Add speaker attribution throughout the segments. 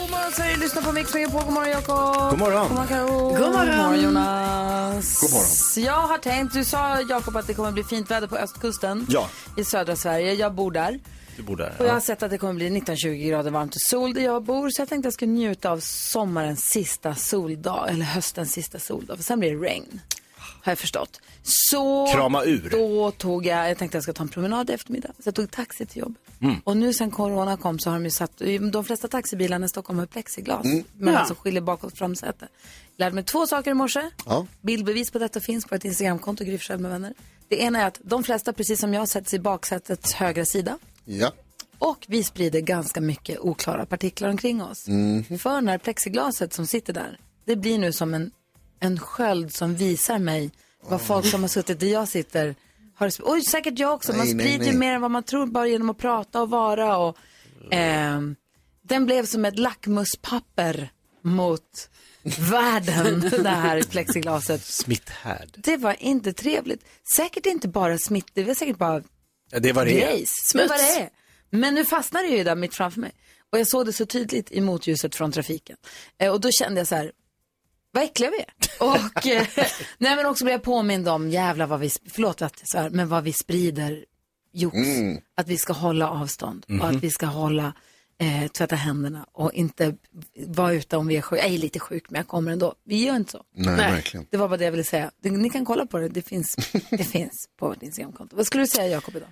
Speaker 1: God morgon Sverige, lyssna på Mix Megapol. God morgon Jakob.
Speaker 2: God morgon.
Speaker 1: God morgon Karo.
Speaker 3: God morgon.
Speaker 1: Jonas.
Speaker 2: God morgon.
Speaker 1: Jag har tänkt, du sa Jakob att det kommer bli fint väder på östkusten
Speaker 2: Ja.
Speaker 1: i södra Sverige. Jag bor där.
Speaker 2: Du bor där.
Speaker 1: Och jag har sett att det kommer bli 19-20 grader varmt och sol där jag bor. Så jag tänkte jag skulle njuta av sommarens sista soldag, eller höstens sista soldag. För sen blir det regn, har jag förstått. Så
Speaker 2: Krama ur.
Speaker 1: då tog jag, jag tänkte jag ska ta en promenad i eftermiddag. Så jag tog taxi till jobbet.
Speaker 2: Mm.
Speaker 1: Och nu sen corona kom så har de ju satt, de flesta taxibilarna i Stockholm har plexiglas.
Speaker 2: Mm.
Speaker 1: Men alltså skiljer bakåt och framsäte. Lärde mig två saker i morse.
Speaker 2: Ja.
Speaker 1: Bildbevis på detta finns på ett Instagramkonto, Gry Forssell med vänner. Det ena är att de flesta, precis som jag, sätts i baksätets högra sida.
Speaker 2: Ja.
Speaker 1: Och vi sprider ganska mycket oklara partiklar omkring oss.
Speaker 2: Mhm.
Speaker 1: För när plexiglaset som sitter där, det blir nu som en, en sköld som visar mig vad folk som har suttit där jag sitter har sp- Oj, säkert jag också. Man
Speaker 2: Nej, nej,
Speaker 1: sprider ju
Speaker 2: nej.
Speaker 1: mer än vad man tror bara genom att prata och vara. Och, ehm, den blev som ett lackmuspapper mot världen, det här plexiglaset.
Speaker 2: Smitthärd.
Speaker 1: Det var inte trevligt. Säkert inte bara smitt, det var säkert bara
Speaker 2: Ja, det var det.
Speaker 1: grejs. Men vad det är. Men nu fastnade det ju där mitt framför mig. Och jag såg det så tydligt i motljuset från trafiken. Eh, och då kände jag så här, vad äckliga vi är. Och, eh, nej men också blev jag påmind om, jävla vad vi, sp- förlåt att jag så här, men vad vi sprider jox. Att vi ska hålla avstånd och att vi ska hålla, eh, tvätta händerna och inte vara ute om vi är sjuka. Jag är lite sjuk men jag kommer ändå. Vi gör inte så.
Speaker 2: Nej,
Speaker 4: Mm.
Speaker 2: verkligen.
Speaker 1: Det var bara det jag ville säga. Det- Ni kan kolla på det, det finns, det finns på vårt Instagramkonto. Vad skulle du säga Jakob idag?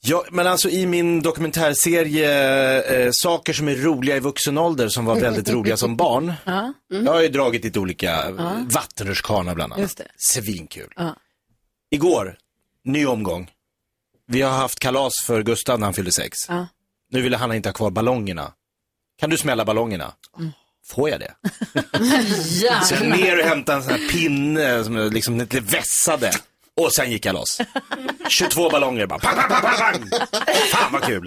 Speaker 5: Ja, men alltså i min dokumentärserie eh, Saker som är roliga i vuxen ålder som var väldigt roliga som barn. Jag har ju dragit lite olika, uh. vattenrutschkana bland annat.
Speaker 1: Mm. Just det.
Speaker 5: Svinkul.
Speaker 1: Ja.
Speaker 5: Igår, ny omgång. Vi har haft kalas för Gustav när han fyllde sex.
Speaker 1: Ja.
Speaker 5: Nu ville han inte ha kvar ballongerna. Kan du smälla ballongerna? Får jag det?
Speaker 1: Mm. Ja.
Speaker 5: Så jag ner och hämtade en sån här pinne som jag liksom lite vässade. Och sen gick jag loss. 22 ballonger bara. Pang, pang, pang, pang, pang. Fan vad kul.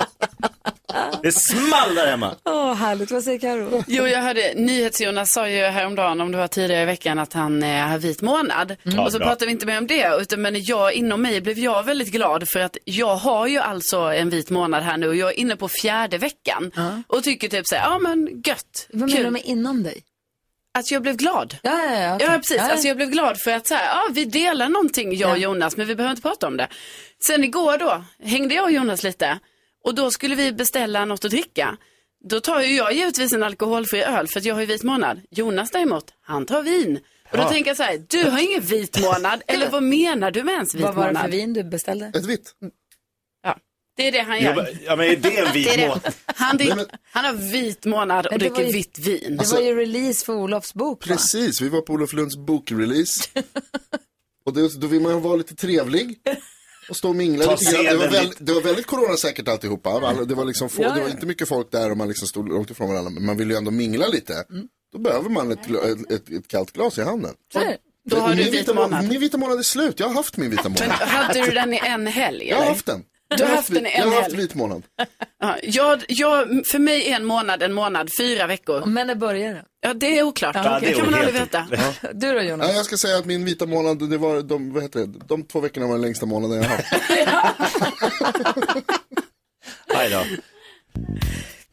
Speaker 5: Det small där hemma.
Speaker 1: Åh, härligt. Vad säger Karo?
Speaker 3: Jo, jag hörde NyhetsJonas sa ju häromdagen, om det var tidigare i veckan, att han eh, har vit månad.
Speaker 1: Mm.
Speaker 3: Och så
Speaker 5: bra.
Speaker 3: pratar vi inte mer om det, utan men jag, inom mig blev jag väldigt glad för att jag har ju alltså en vit månad här nu och jag är inne på fjärde veckan. Och tycker typ så här, ja men gött,
Speaker 1: Vad menar du
Speaker 3: kul.
Speaker 1: med inom dig?
Speaker 3: Att jag blev glad.
Speaker 1: Ja, ja, ja. okej.
Speaker 3: Ja, precis. Alltså, jag blev glad för att så här, ja, vi delar någonting, jag och Jonas, men vi behöver inte prata om det. Sen igår då hängde jag och Jonas lite och då skulle vi beställa något att dricka. Då tar ju jag givetvis en alkoholfri öl för att jag har ju vit månad. Jonas däremot, han tar vin. Och då tänker jag så här, du har ingen vit månad, eller vad menar du med ens vit
Speaker 1: Vad var det för
Speaker 3: månad?
Speaker 1: vin du beställde?
Speaker 2: Ett vitt.
Speaker 3: Ja, det är det han
Speaker 5: Jag
Speaker 3: gör.
Speaker 5: bara, ja men är det en
Speaker 3: Det är
Speaker 5: vit mån?
Speaker 3: det. Han, drick, han har vit månad och
Speaker 1: Men det var
Speaker 3: dricker
Speaker 1: ju-
Speaker 3: vitt vin.
Speaker 1: Det var ju release för Olofs bok. Va?
Speaker 4: Precis, vi var på Olof Lunds bokrelease. och det, då vill man ju vara lite trevlig. Och stå och mingla
Speaker 5: Ta
Speaker 4: lite grann. Det var,
Speaker 5: seden
Speaker 4: väl,
Speaker 5: lite. Mm.
Speaker 4: det var väldigt coronasäkert alltihopa. Alla- Det var, liksom få, det var inte mycket folk där och man liksom stod långt ifrån varandra. Men man ville ju ändå mingla lite.
Speaker 3: Mm.
Speaker 4: Då behöver man ett, gla- ett, ett, ett kallt glas i handen.
Speaker 3: Då har
Speaker 4: Och
Speaker 3: du
Speaker 4: min
Speaker 3: vit
Speaker 4: vita må-
Speaker 3: månad.
Speaker 4: Min vita månad är slut. Jag har haft min vita månad.
Speaker 3: Hade du den i en helg?
Speaker 4: Jag har
Speaker 3: eller?
Speaker 4: haft den.
Speaker 3: har
Speaker 4: Jag har
Speaker 3: haft den
Speaker 4: vit-
Speaker 3: i en
Speaker 4: Jag har haft
Speaker 3: helg.
Speaker 4: vit månad.
Speaker 3: Ja, jag, jag, för mig är en månad en månad, fyra veckor.
Speaker 1: Men när börjar det?
Speaker 3: Ja, det är oklart.
Speaker 5: Ja,
Speaker 3: det,
Speaker 5: det är
Speaker 3: kan man aldrig
Speaker 5: helt-
Speaker 3: veta.
Speaker 1: Du då Jonas?
Speaker 4: Nej, jag ska säga att min vita månad, det var de, vad heter det, de två veckorna var den längsta månaden jag har haft.
Speaker 5: Nej då.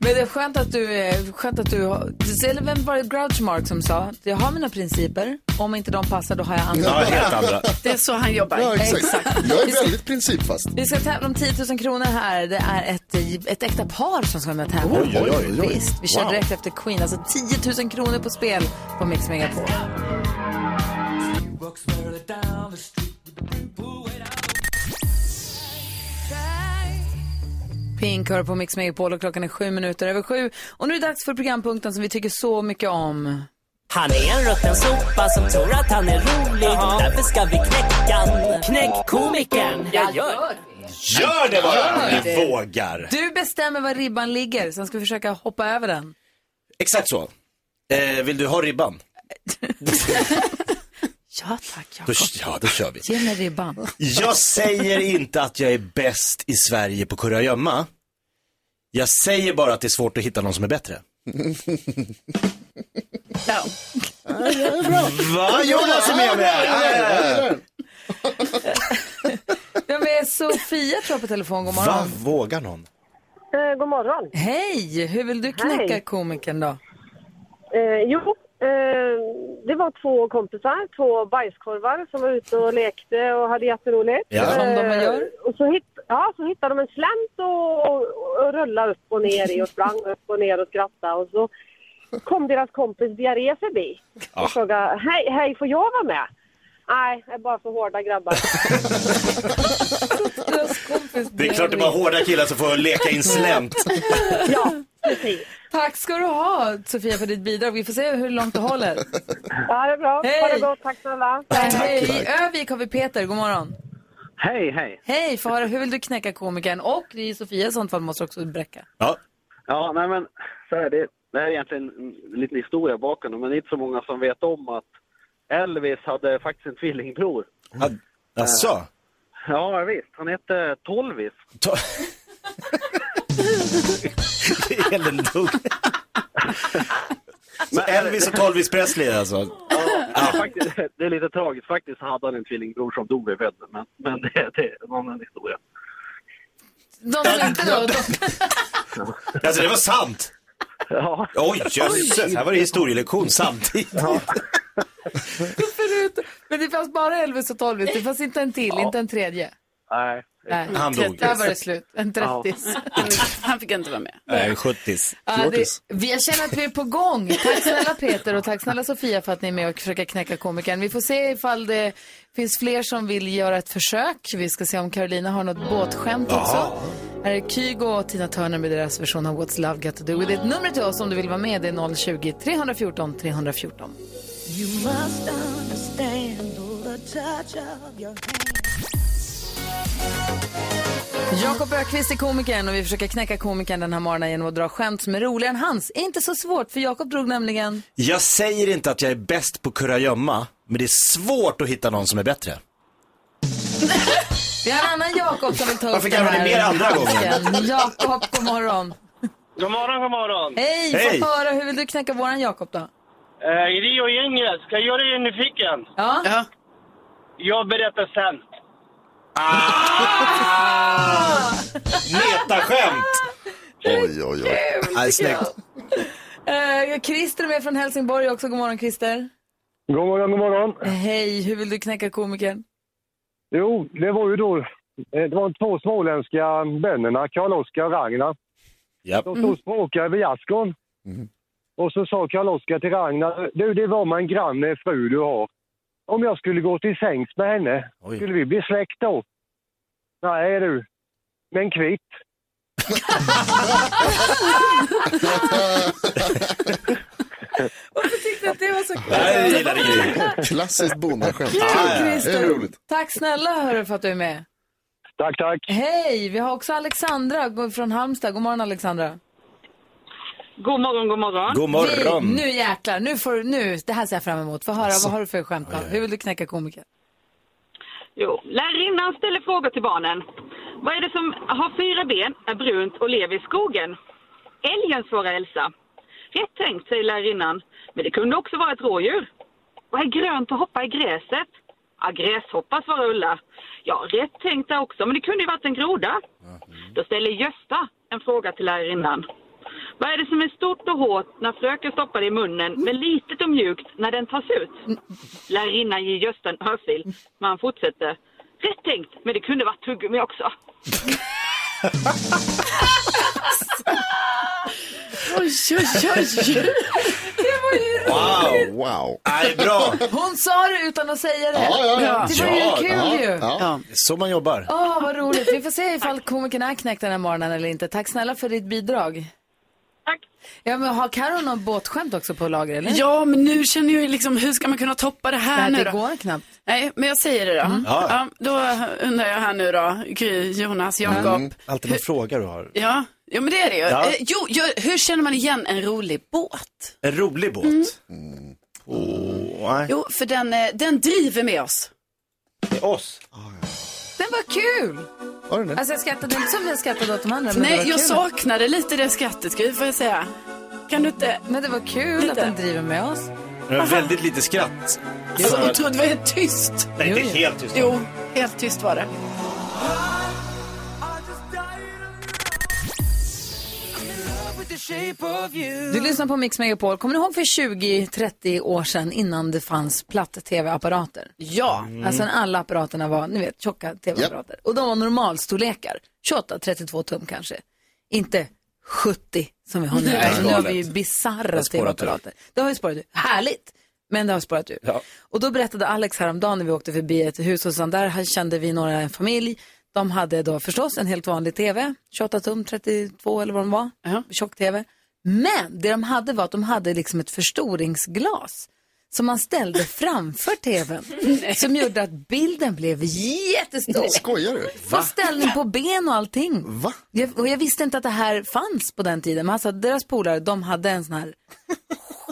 Speaker 1: Men det är skönt att du, är- skönt att du har... Eller vem var det Grouchmark som sa? Jag har mina principer. Om inte de passar då har jag andra.
Speaker 5: Ja, helt andra.
Speaker 3: Det är så han jobbar.
Speaker 4: Ja,
Speaker 1: Exakt.
Speaker 4: exakt. Jag är väldigt principfast.
Speaker 1: Vi ska tävla om 10 000 kronor här. Det är ett, ett äkta par som ska vara med och tävla.
Speaker 4: Oj, oj, oj, oj.
Speaker 1: Visst, vi kör
Speaker 5: Wow.
Speaker 1: direkt efter Queen. Alltså 10 000 kronor på spel på Mix Megapol. Pink hör på Mix Megapol och klockan är sju minuter över sju. Och nu är det dags för programpunkten som vi tycker så mycket om.
Speaker 6: Han är en rutten sopa som tror att han är rolig. Därför ska vi knäcka han. Knäck komikern. Jag gör
Speaker 5: Gör det bara! Ni vågar.
Speaker 1: Du bestämmer var ribban ligger, sen ska vi försöka hoppa över den.
Speaker 5: Exakt så. Eh, vill du ha ribban?
Speaker 1: Ja tack,
Speaker 5: Då,
Speaker 1: Jakob.
Speaker 5: ja, då kör vi.
Speaker 1: Ge mig ribban.
Speaker 5: Jag säger inte att jag är bäst i Sverige på kurragömma. Jag säger bara att det är svårt att hitta någon som är bättre.
Speaker 3: Ja.
Speaker 5: Va? Jonas är med mig! Ja, ja, ja.
Speaker 1: Vem är Sofia tror jag på telefon? God morgon.
Speaker 5: Va? Vågar någon?
Speaker 7: Eh, god morgon.
Speaker 1: Hej! Hur vill du knäcka
Speaker 7: Hej.
Speaker 1: komikern då?
Speaker 7: Eh, jo, eh, det var två kompisar, två bajskorvar som var ute och lekte och hade jätteroligt.
Speaker 5: Ja.
Speaker 7: Eh,
Speaker 1: Som de gör.
Speaker 7: Och så, hitt, ja, så hittade de en slänt och, och, och rullade upp och ner i och sprang upp och ner och skrattade. Och så kom deras kompis diarré förbi och frågade hej, hej, får jag vara med? Nej, jag är bara för hårda grabbar.
Speaker 1: Deras kompis
Speaker 5: Det är klart det är bara hårda killar som får leka in slämt.
Speaker 7: ja, precis.
Speaker 1: Tack ska du ha Sofia för ditt bidrag. Vi får se hur långt du håller. Eh,
Speaker 7: Ja, det är bra. Ha
Speaker 1: Hej.
Speaker 7: det gott. Tack snälla.
Speaker 1: Hej! I Övik har vi Peter, god morgon.
Speaker 8: Hej, hej.
Speaker 1: Hej, får höra hur vill du knäcka komikern? Och det är ju Sofia i sånt fall måste också bräcka.
Speaker 5: Ja.
Speaker 8: Ja, nej men så här, det, det här är egentligen en liten historia bakom det, men det är inte så många som vet om att Elvis hade faktiskt en tvillingbror.
Speaker 5: Alltså.
Speaker 8: Ja, visst. Han hette Tolvis.
Speaker 5: Ta... Det är Elendung. Så Elvis och Elvis Presley alltså.
Speaker 8: Ja, faktiskt, det är lite tragiskt. Faktiskt hade han en tvillingbror som dog vid födseln, men, men det, det är en annan historia.
Speaker 1: De som inte då, de...
Speaker 5: Alltså det var sant.
Speaker 8: Ja,
Speaker 5: Oj, jösses. Här var det historielektion samtidigt.
Speaker 1: Förut. Men det fanns bara Elvis och Tolvis, det fanns inte en till, inte en tredje.
Speaker 8: nej.
Speaker 1: Nej.
Speaker 5: Han dog.
Speaker 1: Där var det slut, en trettis.
Speaker 3: Han fick inte vara med.
Speaker 5: Nej, 70s.
Speaker 1: Ja, det, vi jag känner att vi är på gång. Tack snälla Peter och tack snälla Sofia för att ni är med och försöker knäcka komikern. Vi får se ifall det finns fler som vill göra ett försök. Vi ska se om Carolina har något båtskämt också. Här är Kygo och Tina Turner med deras version av What's Love Got To Do With It. Numret till oss om du vill vara med det är 020-314 314. Jakob Ökvist är komikern och vi försöker knäcka komikern den här morgonen genom att dra skämt som är roligare än hans. Inte så svårt för Jakob drog nämligen...
Speaker 5: Jag säger inte att jag är bäst på kurragömma, men det är svårt att hitta någon som är bättre.
Speaker 1: Vi har en annan Jakob som vill ta upp
Speaker 5: Varför
Speaker 1: den
Speaker 5: kan man
Speaker 1: här.
Speaker 5: det mer andra gången?
Speaker 1: Dansken. Jakob, god morgon.
Speaker 8: God morgon, god morgon.
Speaker 1: Hej,
Speaker 5: Hej.
Speaker 1: få höra. Hur vill du knäcka våran Jakob då?
Speaker 8: Eh, Rio-gänget, ska jag göra er nyfiken?
Speaker 1: Ja,
Speaker 3: Ja.
Speaker 8: Jag berättar sen.
Speaker 1: Ah!
Speaker 5: Metaskämt!
Speaker 4: Oj, oj, oj.
Speaker 5: Nej, snyggt.
Speaker 1: eh, Christer är med från Helsingborg också. God morgon Christer.
Speaker 8: God morgon, god morgon.
Speaker 1: Hej, hur vill du knäcka komikern?
Speaker 8: Jo, det var ju då... eh, Det var två småländska bönderna, Karl-Oskar och Ragnar.
Speaker 5: Japp.
Speaker 8: De stod och språkade vid gärdsgården. Och så sa Karl-Oskar till Ragnar, du det var man granne fru du har. Om jag skulle gå till sängs med henne,
Speaker 5: Oj.
Speaker 8: skulle vi bli släkt då? Nej du, men kvitt.
Speaker 1: Varför tyckte du att det var så kul?
Speaker 5: Nej, jag gillar det ju.
Speaker 4: Klassiskt bondeskämt.
Speaker 1: Kul
Speaker 4: Det är
Speaker 1: Christer.
Speaker 4: roligt.
Speaker 1: Tack snälla hörru för att du är med.
Speaker 8: Tack, tack.
Speaker 1: Hej, vi har också Alexandra från Halmstad. God morgon Alexandra.
Speaker 7: God morgon, god morgon.
Speaker 5: God
Speaker 1: Vi,
Speaker 5: morgon.
Speaker 1: nu jäklar, nu får du, nu, det här ser jag fram emot. Få höra, vad har du för skämt då? Hur vill du knäcka komikern?
Speaker 7: Jo, lärarinnan ställer frågor till barnen. Vad är det som har fyra ben, är brunt och lever i skogen? Älgen, svarar Elsa. Rätt tänkt, säger lärarinnan. Men det kunde också vara ett rådjur. Vad är grönt och hoppar i gräset? Ja, gräshoppa, svarar Ulla. Ja, rätt tänkt där också, men det kunde ju varit en groda. Då ställer Gösta en fråga till lärarinnan. Vad är det som är stort och hårt när fröken stoppar det i munnen, men litet och mjukt när den tas ut? Lärarinnan ger Gösta en örfil, men han fortsätter. Rätt tänkt, men det kunde varit tuggummi också.
Speaker 3: Oj, oj, oj.
Speaker 5: Wow.
Speaker 4: Wow.
Speaker 5: Nej, bra.
Speaker 1: Hon sa det utan att säga det.
Speaker 4: Ja, ja, ja.
Speaker 1: Det var ju
Speaker 5: Ja,
Speaker 1: kul ju.
Speaker 4: Ja.
Speaker 5: Så man jobbar.
Speaker 1: Åh, vad roligt. Vi får se ifall komikern är knäckt den här morgonen eller inte. Tack snälla för ditt bidrag.
Speaker 7: Tack.
Speaker 1: Ja, men har Karo någon båtskämt också på lager, eller?
Speaker 3: Ja, men nu känner jag ju liksom, hur ska man kunna toppa det
Speaker 1: det,
Speaker 3: här
Speaker 1: här,
Speaker 3: nu
Speaker 1: det
Speaker 3: då?
Speaker 1: går Mm. knappt.
Speaker 3: Nej, men jag säger det då. Ja,
Speaker 5: Ja.
Speaker 3: då undrar jag här nu då, Gry, Jonas, Jakob.
Speaker 5: Alltid någon fråga du har.
Speaker 3: Ja. ja, men det är det ju.
Speaker 5: Ja.
Speaker 1: Mm.
Speaker 3: Eh, jo, jag, hur känner man igen en rolig båt?
Speaker 5: En rolig båt. Åh, nej.
Speaker 3: Jo, för den, eh, den driver med oss.
Speaker 5: Det är oss.
Speaker 1: Den var kul!
Speaker 4: Har den det?
Speaker 1: Alltså jag skrattade inte som jag skrattade åt de andra. Men det var
Speaker 3: Nej,
Speaker 1: kul.
Speaker 3: jag saknade lite det skrattet, ska vi får jag säga. Kan du inte?
Speaker 1: Men det var kul att
Speaker 3: Lite.
Speaker 1: den driver med oss.
Speaker 5: Det var väldigt lite skratt.
Speaker 3: Det var så otroligt, det var helt tyst.
Speaker 5: Nej, det är
Speaker 1: Jo, jo.
Speaker 5: helt tyst.
Speaker 3: Jo, helt tyst var det.
Speaker 1: Du lyssnar på Mix Megapol. Kommer ni ihåg för 20-30 år sedan innan det fanns platt-tv-apparater?
Speaker 3: Ja.
Speaker 1: Alltså när alla apparaterna var, ni vet, tjocka tv-apparater. Och de var normalstorlekar. 28-32 tum kanske. Inte 70 som vi har nu. Alltså, nu har vi ju bisarra
Speaker 2: spårat ur.
Speaker 1: tv-apparater. Det har ju spårat ur. Härligt! Men det har spårat ur. Och då berättade Alex häromdagen när vi åkte förbi ett hus och sånt där kände vi några, en familj. De hade då förstås en helt vanlig tv, 28 tum, 32 eller vad de var,
Speaker 3: Ja.
Speaker 1: tjock-tv. Men det de hade var att de hade liksom ett förstoringsglas som man ställde framför tvn som gjorde att bilden blev jättestor.
Speaker 4: Skojar du?
Speaker 1: Få ställning på ben och allting.
Speaker 4: Va?
Speaker 1: Jag, och jag visste inte att det här fanns på den tiden. Men alltså, deras polare, de hade en sån här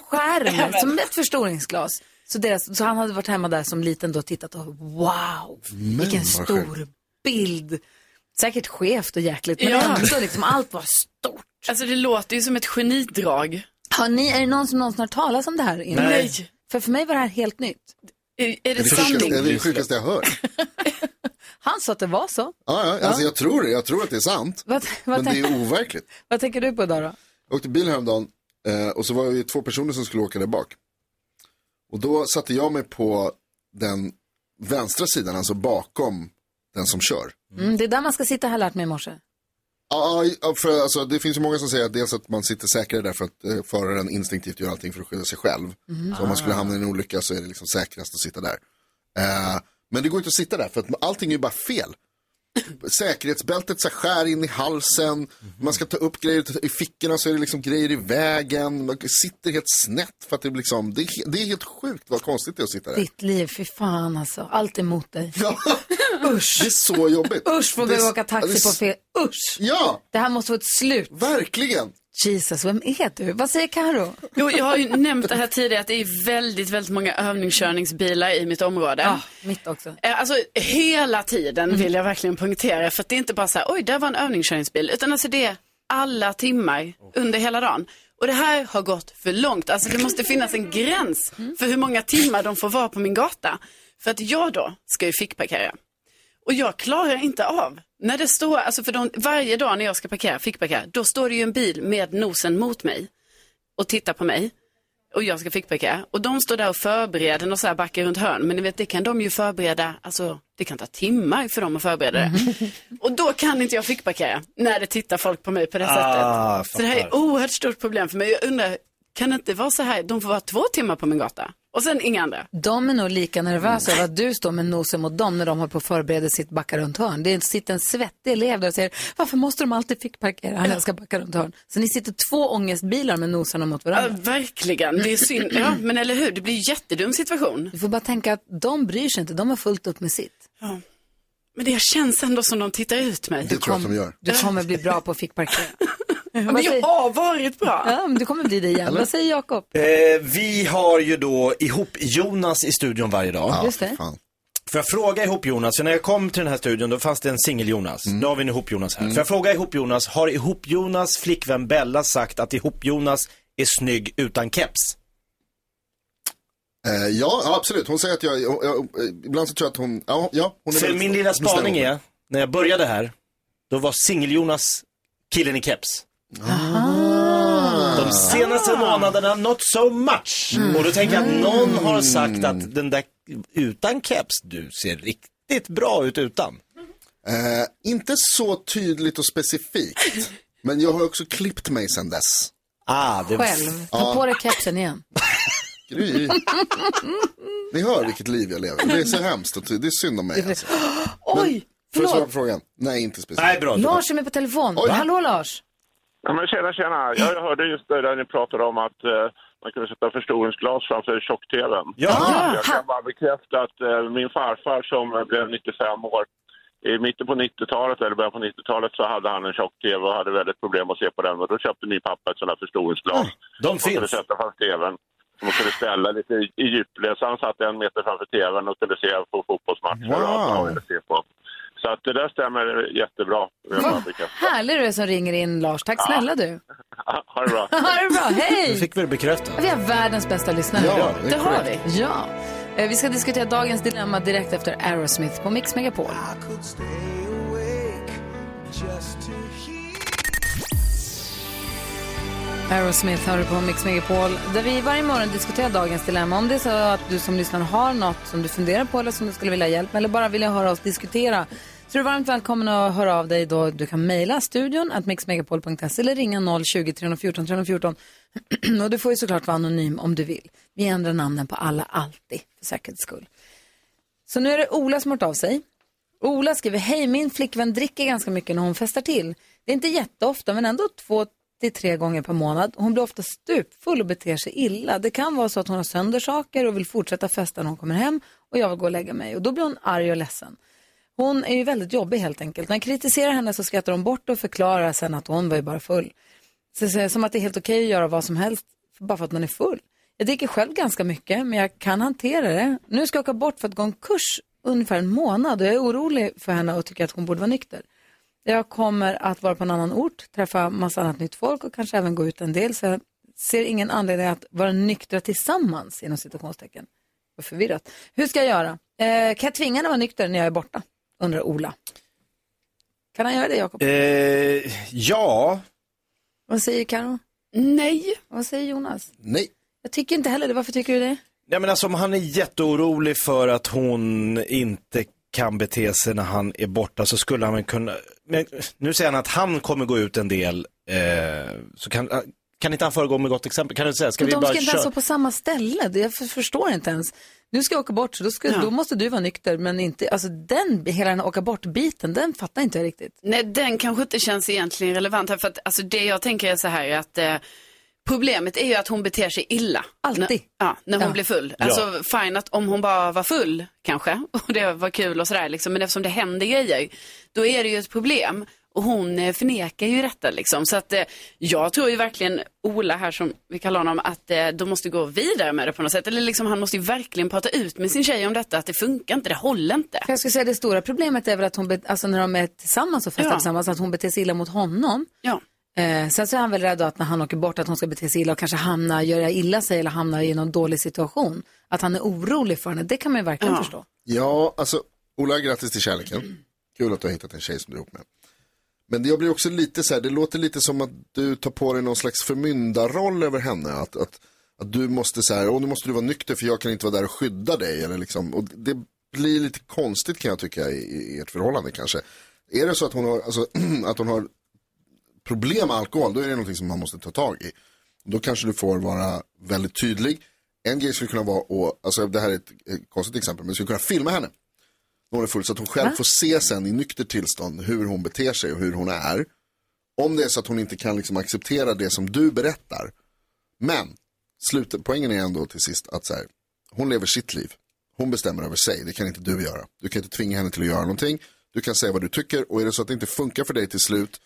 Speaker 1: skärm som ett förstoringsglas. Så, deras, så han hade varit hemma där som liten då och tittat och wow, vilken
Speaker 4: vad
Speaker 1: stor bild. Säkert skevt och jäkligt, men
Speaker 3: Ja.
Speaker 1: ändå liksom allt var stort.
Speaker 3: Alltså det låter ju som ett genidrag.
Speaker 1: Har ni, är det någon som någonsin har hört talas om det här innan?
Speaker 3: Nej.
Speaker 1: För för mig var det här helt nytt.
Speaker 3: Är, är
Speaker 4: Det
Speaker 3: det
Speaker 4: sjukaste, det är
Speaker 3: sanning?
Speaker 4: det sjukaste jag hör.
Speaker 1: Han sa att det var så.
Speaker 4: Ja, ja, alltså jag tror det, jag tror att det är sant.
Speaker 1: Vad, vad,
Speaker 4: Men det
Speaker 1: tänk,
Speaker 4: är overkligt.
Speaker 1: vad tänker du på idag då?
Speaker 4: Jag åkte bil häromdagen eh, och så var vi två personer som skulle åka där bak. Och då satte jag mig på den vänstra sidan, alltså bakom den som kör.
Speaker 1: Mm, det är där man ska sitta har jag lärt mig i morse.
Speaker 4: Ja, ja, för alltså, det finns ju många som säger att dels att man sitter säkrare därför att eh, föraren instinktivt gör allting för att skydda sig själv. Så om man skulle hamna i en olycka så är det liksom säkrast att sitta där. Eh, men det går inte att sitta där för att allting är ju bara fel. Säkerhetsbältet så här, skär in i halsen, man ska ta upp grejer i fickorna så är det liksom grejer i vägen, man sitter helt snett för att det blir liksom, det är, he- det är helt sjukt vad konstigt det är att sitta där.
Speaker 1: Ditt liv, fy fan alltså. Allt emot dig.
Speaker 4: Ja,
Speaker 1: Usch.
Speaker 4: det är så jobbigt.
Speaker 1: Usch, får
Speaker 4: Det är
Speaker 1: vi
Speaker 4: s-
Speaker 1: åka
Speaker 4: ja, det är
Speaker 1: taxi på
Speaker 4: s-
Speaker 1: fel... Usch!
Speaker 4: Ja,
Speaker 1: Det här måste få ett slut.
Speaker 4: verkligen.
Speaker 1: Jesus, vem är du? Vad säger Karo?
Speaker 3: Jo, jag har ju nämnt det här tidigare att det är väldigt, väldigt många övningskörningsbilar i mitt område.
Speaker 1: Ja, mitt också.
Speaker 3: Eh, Alltså hela tiden vill jag verkligen punktera för att det är inte bara så här, oj, där var en övningskörningsbil, utan alltså det är alla timmar under hela dagen. Och det här har gått för långt, alltså det måste finnas en gräns för hur många timmar de får vara på min gata. För att jag då ska ju fickparkera. Och jag klarar inte av, när det står, alltså för de, varje dag när jag ska parkera, fickparkera, då står det ju en bil med nosen mot mig och tittar på mig och jag ska fickparkera. Och de står där och förbereder och så här backar runt hörn. Men ni vet, det kan de ju förbereda, alltså det kan ta timmar för dem att förbereda
Speaker 5: Mm.
Speaker 3: det. Och då kan inte jag fickparkera när det tittar folk på mig på det här
Speaker 5: Ah,
Speaker 3: sättet. Så det här är ett
Speaker 5: fattar.
Speaker 3: oerhört stort problem för mig. Jag undrar, kan det inte vara så här, de får vara två timmar på min gata och sen inga andra?
Speaker 5: Mm.
Speaker 1: De är nog lika nervösa över att du står med nosen mot dem när de har på att förbereda sitt backa runt hörn. Det sitter en svettig elev där och säger, varför måste de alltid fick parkera när jag ska backa runt hörn? Så ni sitter två ångestbilar med noserna mot
Speaker 3: Ja,
Speaker 1: varandra.
Speaker 3: verkligen, det är synd. Ja, men eller hur, det blir en jättedum situation.
Speaker 1: Du får bara tänka att de bryr sig inte, de har fullt upp med sitt.
Speaker 3: Men det känns ändå som de tittar ut mig.
Speaker 4: Det tror jag att de gör.
Speaker 1: Du kommer bli bra på att fick parkera.
Speaker 3: Men jag har varit bra.
Speaker 1: Ja, men du kommer bli det igen. Vad säger Jakob?
Speaker 5: Eh, vi har ju då ihop Jonas i studion varje dag.
Speaker 4: Ja,
Speaker 1: Just det.
Speaker 4: Fan.
Speaker 5: Får jag fråga ihop Jonas, för när jag kom till den här studion då fanns det en singel-Jonas. Nu har vi en ihop Jonas här. Får jag fråga ihop Jonas, har ihop Jonas flickvän Bella sagt att ihop Jonas är snygg utan keps?
Speaker 4: Eh, ja, ja, absolut. Hon säger att jag, jag, jag eh, ibland så tror jag att hon, ja, ja hon är
Speaker 5: För
Speaker 4: väldigt-
Speaker 5: min lilla
Speaker 4: bestämd.
Speaker 5: spaning är, när jag började här, då var singel-Jonas killen i keps. De senaste månaderna, not so much. Och då tänker jag att någon har sagt att den där utan keps, du ser riktigt bra ut utan.
Speaker 4: Eh, inte så tydligt och specifikt. Men jag har också klippt mig sen dess.
Speaker 5: Ah, det
Speaker 1: Själv. Ta på dig kepsen igen.
Speaker 4: Gry. Ni hör vilket liv jag lever. Det är så hemskt och ty- det är synd om mig. Alltså.
Speaker 1: Oj,
Speaker 4: För att svara
Speaker 1: förlåt.
Speaker 4: på frågan, nej inte specifikt.
Speaker 5: Nej, bra.
Speaker 1: Lars är med på telefon.
Speaker 4: Oj.
Speaker 1: Hallå Lars.
Speaker 9: Ja, men tjena, tjena. Ja, jag hörde just det där ni pratade om att eh, man kunde sätta förstoringsglas framför tjock-tvn.
Speaker 5: Ja,
Speaker 9: Jag kan bara bekräfta att eh, min farfar som eh, blev 95 år, i mitten på 90-talet eller början på 90-talet så hade han en tjock-tv och hade väldigt problem att se på den. Och då köpte min pappa ett sådant här förstoringsglas.
Speaker 5: de
Speaker 9: Och kunde
Speaker 5: finns.
Speaker 9: sätta fast tvn. Som man kunde ställa lite i, i djupled. Så han satt en meter framför tvn och kunde se på fotbollsmatcher och allt vad han ville se på. Så att det där stämmer jättebra. med
Speaker 1: Vad
Speaker 9: Afrika.
Speaker 1: härlig du är som ringer in Lars. Tack
Speaker 4: Ah.
Speaker 1: snälla du.
Speaker 9: Ha det bra.
Speaker 1: Ha det bra,
Speaker 2: Nu
Speaker 1: hej!
Speaker 2: fick vi det bekräftat.
Speaker 1: Vi har världens bästa lyssnare.
Speaker 4: Ja, det är
Speaker 1: det har
Speaker 4: korrekt.
Speaker 1: vi. Ja. Eh, Vi ska diskutera dagens dilemma direkt efter Aerosmith på Mix Megapol. Aerosmith hör du på Mix Megapol där vi varje morgon diskuterar dagens dilemma. Om det är så att du som lyssnar har något som du funderar på eller som du skulle vilja ha hjälp med eller bara vill höra oss diskutera så är du varmt välkommen att höra av dig då. Du kan mejla studion att mixmegapol.se eller ringa 020 314 314. och du får ju såklart vara anonym om du vill. Vi ändrar namnen på alla alltid för säkerhets skull. Så nu är det Ola som har hört av sig. Ola skriver, hej min flickvän dricker ganska mycket när hon festar till. Det är inte jätteofta men ändå två till tre gånger per månad. Hon blir ofta stupfull och beter sig illa. Det kan vara så att hon har sönder saker och vill fortsätta festa när hon kommer hem och jag vill gå och lägga mig. Och då blir hon arg och ledsen. Hon är ju väldigt jobbig helt enkelt. När jag kritiserar henne så skrattar hon bort och förklarar sen att hon var ju bara full. Så, så, som att det är helt okej att göra vad som helst bara för att man är full. Jag dricker själv ganska mycket men jag kan hantera det. Nu ska jag åka bort för att gå en kurs ungefär en månad och jag är orolig för henne och tycker att hon borde vara nykter. Jag kommer att vara på en annan ort, träffa massa annat nytt folk och kanske även gå ut en del. Så jag ser ingen anledning att vara nyktra tillsammans inom citationstecken. Vad förvirrat. Hur ska jag göra? Eh, kan jag tvinga henne att vara nykter när jag är borta? Undrar Ola. Kan han göra det Jakob?
Speaker 5: Eh, ja,
Speaker 1: Vad säger Karo?
Speaker 3: Nej.
Speaker 1: Vad säger Jonas?
Speaker 4: Nej.
Speaker 1: Jag tycker inte heller det. Varför tycker du det?
Speaker 5: Nej men alltså om han är jätteorolig för att hon inte kan bete sig när han är borta så skulle han väl kunna, men nu säger han att han kommer gå ut en del, eh, så kan, kan inte han föregå med gott exempel? Kan du inte säga, ska
Speaker 1: Men
Speaker 5: vi
Speaker 1: de
Speaker 5: bara
Speaker 1: ska inte ens
Speaker 5: köra?
Speaker 1: vara på samma ställe. Det- Jag för- förstår inte ens. Nu ska jag åka bort, så då, ska, då måste du vara nykter. Men inte, alltså den, hela den här åka bort-biten, den fattar inte jag riktigt.
Speaker 3: Nej, den kanske inte känns egentligen relevant här. För att, alltså, det jag tänker är så här att eh, problemet är ju att hon beter sig illa.
Speaker 1: Alltid.
Speaker 3: När, ja, när hon
Speaker 1: Ja.
Speaker 3: blir full. Alltså fine att om hon bara var full kanske och det var kul och sådär liksom. Men eftersom det händer grejer, då är det ju ett problem. Och hon eh, förnekar ju detta liksom. Så att eh, jag tror ju verkligen Ola här som vi kallar honom att eh, de måste gå vidare med det på något sätt. Eller liksom han måste ju verkligen prata ut med sin tjej om detta att det funkar inte, det håller inte.
Speaker 1: För jag skulle säga det stora problemet är väl att hon, be- alltså när de är tillsammans och festar
Speaker 3: Ja.
Speaker 1: tillsammans, att hon beter sig illa mot honom.
Speaker 3: Ja.
Speaker 1: Eh, sen så är han väl rädd då att när han åker bort att hon ska bete sig illa och kanske hamna, göra illa sig eller hamna i någon dålig situation. Att han är orolig för henne, det kan man ju verkligen
Speaker 3: Ja.
Speaker 1: förstå.
Speaker 4: Ja, alltså Ola, grattis till kärleken. Kul att du har hittat en tjej som du är ihop med. Men jag blir också lite så här, det låter lite som att du tar på dig någon slags förmyndarroll över henne. Att, att, att du måste så här, åh nu måste du vara nykter för jag kan inte vara där och skydda dig. Eller liksom, och det blir lite konstigt kan jag tycka i, i ert förhållande kanske. Är det så att hon har, alltså, att hon har problem med alkohol, då är det någonting som man måste ta tag i. Då kanske du får vara väldigt tydlig. En grej skulle kunna vara, och, alltså det här är ett eh, konstigt exempel, men du skulle kunna filma henne när hon är full så att hon själv får se sen i nykter tillstånd hur hon beter sig och hur hon är. Om det är så att hon inte kan liksom acceptera det som du berättar. Men slutet, poängen är ändå till sist att så här, hon lever sitt liv. Hon bestämmer över sig, det kan inte du göra. Du kan inte tvinga henne till att göra någonting. Du kan säga vad du tycker och är det så att det inte funkar för dig till slut,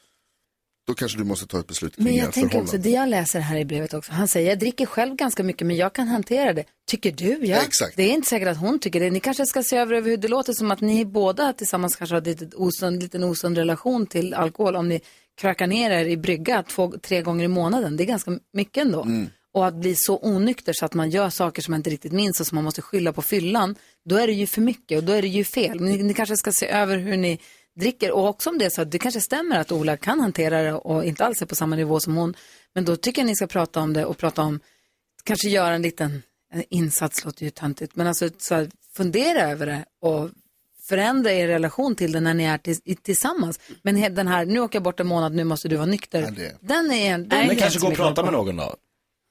Speaker 4: då kanske du måste ta ett beslut kring
Speaker 1: Men jag
Speaker 4: ert
Speaker 1: tänker också,
Speaker 4: förhållande.
Speaker 1: det jag läser här i brevet också, han säger jag dricker själv ganska mycket men jag kan hantera det. Tycker du? Ja.
Speaker 4: Ja, exakt.
Speaker 1: Det är inte säkert att hon tycker det. Ni kanske ska se över över hur det låter som att ni båda tillsammans kanske har en liten osund, liten osund relation till alkohol om ni krökar ner er i brygga två, tre gånger i månaden. Det är ganska mycket ändå. Och att bli så onykter så att man gör saker som man inte riktigt minns och som man måste skylla på fyllan, då är det ju för mycket och då är det ju fel. Men ni, ni kanske ska se över hur ni dricker. Och också om det är så att det kanske stämmer att Ola kan hantera det och inte alls är på samma nivå som hon. Men då tycker jag ni ska prata om det och prata om, kanske göra en liten en insats, låter ju töntigt, men alltså så här, fundera över det och förändra er relation till det när ni är tills, i- tillsammans. Men he- den här, nu åker jag bort en månad, nu måste du vara nykter.
Speaker 4: Ja, det-
Speaker 1: Den är en... den är
Speaker 5: Men
Speaker 1: inte
Speaker 5: kanske gå
Speaker 1: så
Speaker 5: och
Speaker 1: mycket
Speaker 5: prata med
Speaker 1: bra.
Speaker 5: någon då?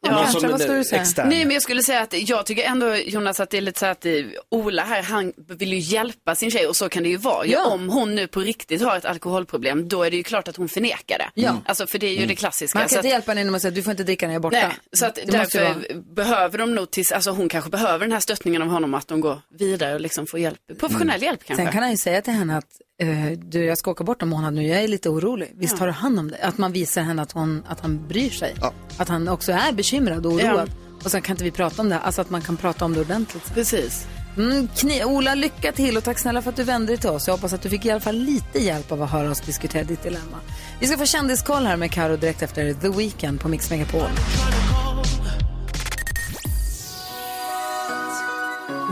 Speaker 1: Ja,
Speaker 5: någon
Speaker 1: kanske. Vad ska du säga?
Speaker 5: extern.
Speaker 3: Nej, men jag skulle säga att jag tycker ändå Jonas att det är lite så här att eh, Ola här, han vill ju hjälpa sin tjej och så kan det ju vara. Ja.
Speaker 1: Ja.
Speaker 3: Om hon nu på riktigt har ett alkoholproblem, då är det ju klart att hon förnekar det.
Speaker 1: Ja.
Speaker 3: Alltså, för det är ju det klassiska.
Speaker 1: Man kan
Speaker 3: så
Speaker 1: inte
Speaker 3: att,
Speaker 1: hjälpa henne genom att säga du får inte dricka när jag är borta.
Speaker 3: nej, så att
Speaker 1: Det måste ju vara-
Speaker 3: därför behöver de nog tills, alltså hon kanske behöver den här stöttningen av honom, att de går vidare och liksom får hjälp, professionell hjälp kanske.
Speaker 1: Mm. Sen kan han ju säga till henne att eh, du, jag ska åka bort om månad nu, jag är lite orolig. Visst tar du hand om det? Att man visar henne att, hon, att han bryr sig. Att han också är bekymrad och oroad. Och sen kan inte vi prata om det, här. alltså att man kan prata om det ordentligt.
Speaker 3: Precis.
Speaker 1: Mm, kni- Ola, lycka till och tack snälla för att du vände dig till oss. Jag hoppas att du fick i alla fall lite hjälp av att höra oss diskutera ditt dilemma. Vi ska få kändiskoll här med Karo direkt efter The Weeknd på Mix Megapol.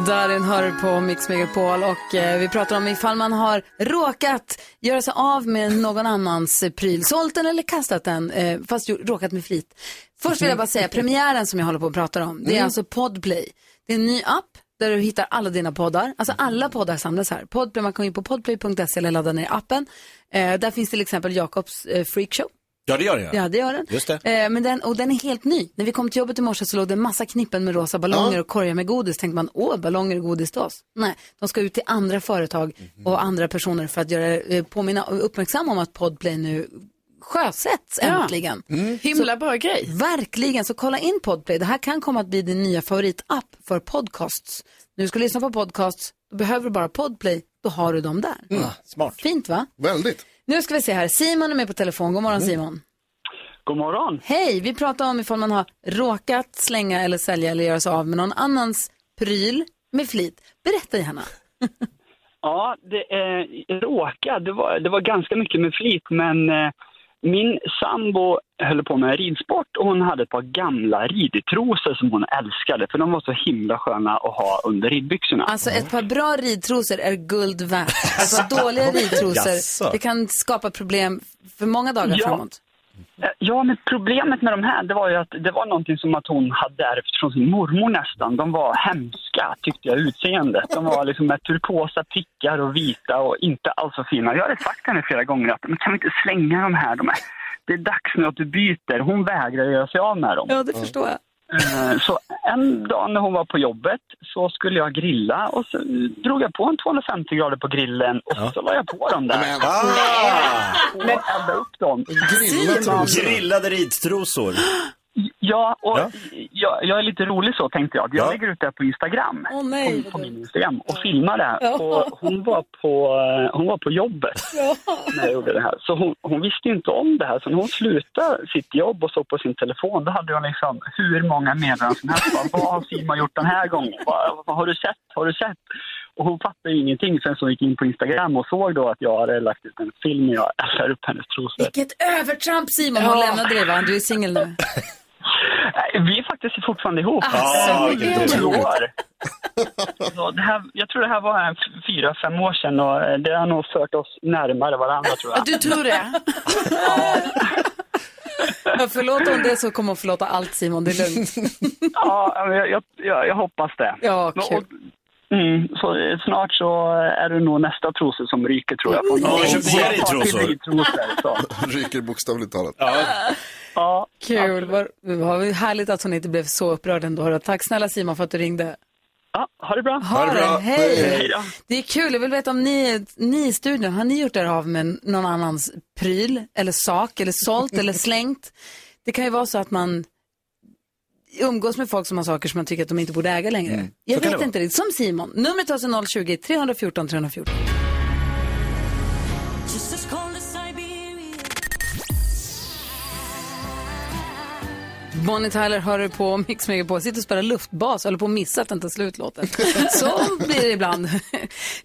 Speaker 1: Darin hör på Mix Megapol och eh, vi pratar om ifall man har råkat göra sig av med någon annans eh, pryl, sålt den eller kastat den, eh, fast ju, råkat med flit. Först vill jag bara säga premiären som jag håller på att prata om, det är alltså Podplay. Det är en ny app där du hittar alla dina poddar, alltså alla poddar samlas här. Podplay, man kan gå in på podplay.se eller ladda ner appen. Eh, där finns till exempel Jakobs eh, freakshow.
Speaker 2: Ja, det gör det.
Speaker 1: Ja, det gör den.
Speaker 2: Just det.
Speaker 1: Eh, men den, och den är helt ny. När vi kom till jobbet i morse så låg det en massa knippen med rosa ballonger och korgar med godis. Tänkte man, åh, ballonger och godis till oss? Nej, de ska ut till andra företag
Speaker 2: Mhm.
Speaker 1: och andra personer för att göra, eh, påminna och uppmärksamma om att Podplay nu sjösätts äntligen.
Speaker 2: Mm.
Speaker 3: Himla bra grej.
Speaker 1: Verkligen, så kolla in Podplay. Det här kan komma att bli din nya favoritapp för podcasts. När du ska lyssna på podcasts, då behöver du bara Podplay, då har du dem där.
Speaker 2: Ah, smart.
Speaker 1: Fint va?
Speaker 4: Väldigt.
Speaker 1: Nu ska vi se här, Simon är med på telefon. God
Speaker 2: Mm.
Speaker 1: morgon Simon.
Speaker 10: God morgon.
Speaker 1: Hej, vi pratar om ifall man har råkat slänga eller sälja eller göra sig av med någon annans pryl med flit. Berätta gärna.
Speaker 10: Ja, det eh, råkade. Det var, det var ganska mycket med flit, men eh, min sambo höll på med ridsport och hon hade ett par gamla ridtrosor som hon älskade, för de var så himla sköna att ha under ridbyxorna.
Speaker 1: Alltså ett par bra ridtrosor är guld värt. Alltså dåliga ridtrosor,
Speaker 2: Jaså.
Speaker 1: det kan skapa problem för många dagar
Speaker 10: Ja.
Speaker 1: framåt.
Speaker 10: Eh, Ja, men problemet med de här, det var ju att det var någonting som att hon hade ärvt från sin mormor nästan. De var hemska, tyckte jag, utseendet. De var liksom med turkosa prickar och vita och inte alls så fina. Jag hade sagt henne flera gånger att, men kan vi inte slänga de här? De är, det är dags nu att du byter. Hon vägrar göra sig av med dem.
Speaker 1: Ja, det förstår jag.
Speaker 10: Eh, Så en dag när hon var på jobbet så skulle jag grilla och så drog jag på en 250 grader på grillen och så la jag på dem där
Speaker 4: Men,
Speaker 2: Ah,
Speaker 10: och eldade upp dem.
Speaker 4: grilla trosorna.
Speaker 2: grillade ridstrosor.
Speaker 10: Ja, och
Speaker 2: Ja.
Speaker 10: Jag, jag är lite rolig så tänkte jag. Jag
Speaker 2: Ja.
Speaker 10: lägger ut det här på Instagram. Mm,
Speaker 1: Åh nej,
Speaker 10: På min Instagram och filmar det här.
Speaker 1: Ja.
Speaker 10: Och hon, var på, eh, hon var på jobbet när jag gjorde det här. Så hon, hon visste ju inte om det här. Så när hon slutade sitt jobb och såg på sin telefon, då hade jag liksom hur många meddelanden som helst. Bara, Vad har Simon gjort den här gången? Vad, vad har du sett? Har du sett? Och hon fattade ju ingenting sen så hon gick in på Instagram och såg då att jag hade lagt ut en film och jag eldade upp hennes trosor.
Speaker 1: vilket övertramp Simon, hon lämnade dig va? Du är singel nu.
Speaker 10: Nej, Vi är faktiskt fortfarande ihop.
Speaker 11: Ah,
Speaker 1: Alltså,
Speaker 2: vilket
Speaker 1: hon lever.
Speaker 10: Sju år. Så det här, jag tror det här var en f- fyra, fem år sedan och eh, det har nog fört oss närmare varandra tror jag.
Speaker 3: Du tror det?
Speaker 1: Ja, förlåter hon det så kommer hon förlåta allt Simon, det är lugnt.
Speaker 10: Ja, men jag, jag, jag, jag hoppas det.
Speaker 1: Ja,
Speaker 10: Men-
Speaker 1: kul.
Speaker 10: och- Mm, så eh, snart så är det nog nästa trosor som ryker tror jag. På.
Speaker 2: jag köpte nya ridtrosor.
Speaker 10: ridtrosor, så.
Speaker 4: Ryker bokstavligt talat.
Speaker 10: Ja,
Speaker 1: Kul, vad vad härligt att hon inte blev så upprörd ändå. Tack snälla Simon för att du ringde.
Speaker 10: ja, ha det bra.
Speaker 1: Ha det, hej!
Speaker 10: Hej då.
Speaker 1: Det är kul, jag vill veta om ni, ni i studion, har ni gjort er av med någon annans pryl eller sak eller sålt eller slängt? Det kan ju vara så att man umgås med folk som har saker som man tycker att de inte borde äga längre.
Speaker 10: Mm.
Speaker 1: Jag vet inte riktigt, som Simon. Numret är alltså 020-314 314. Bonnie Tyler hör du på Mix på sitter och spelar luftbas, håller på att missa att den tar slut låten. Så blir det ibland.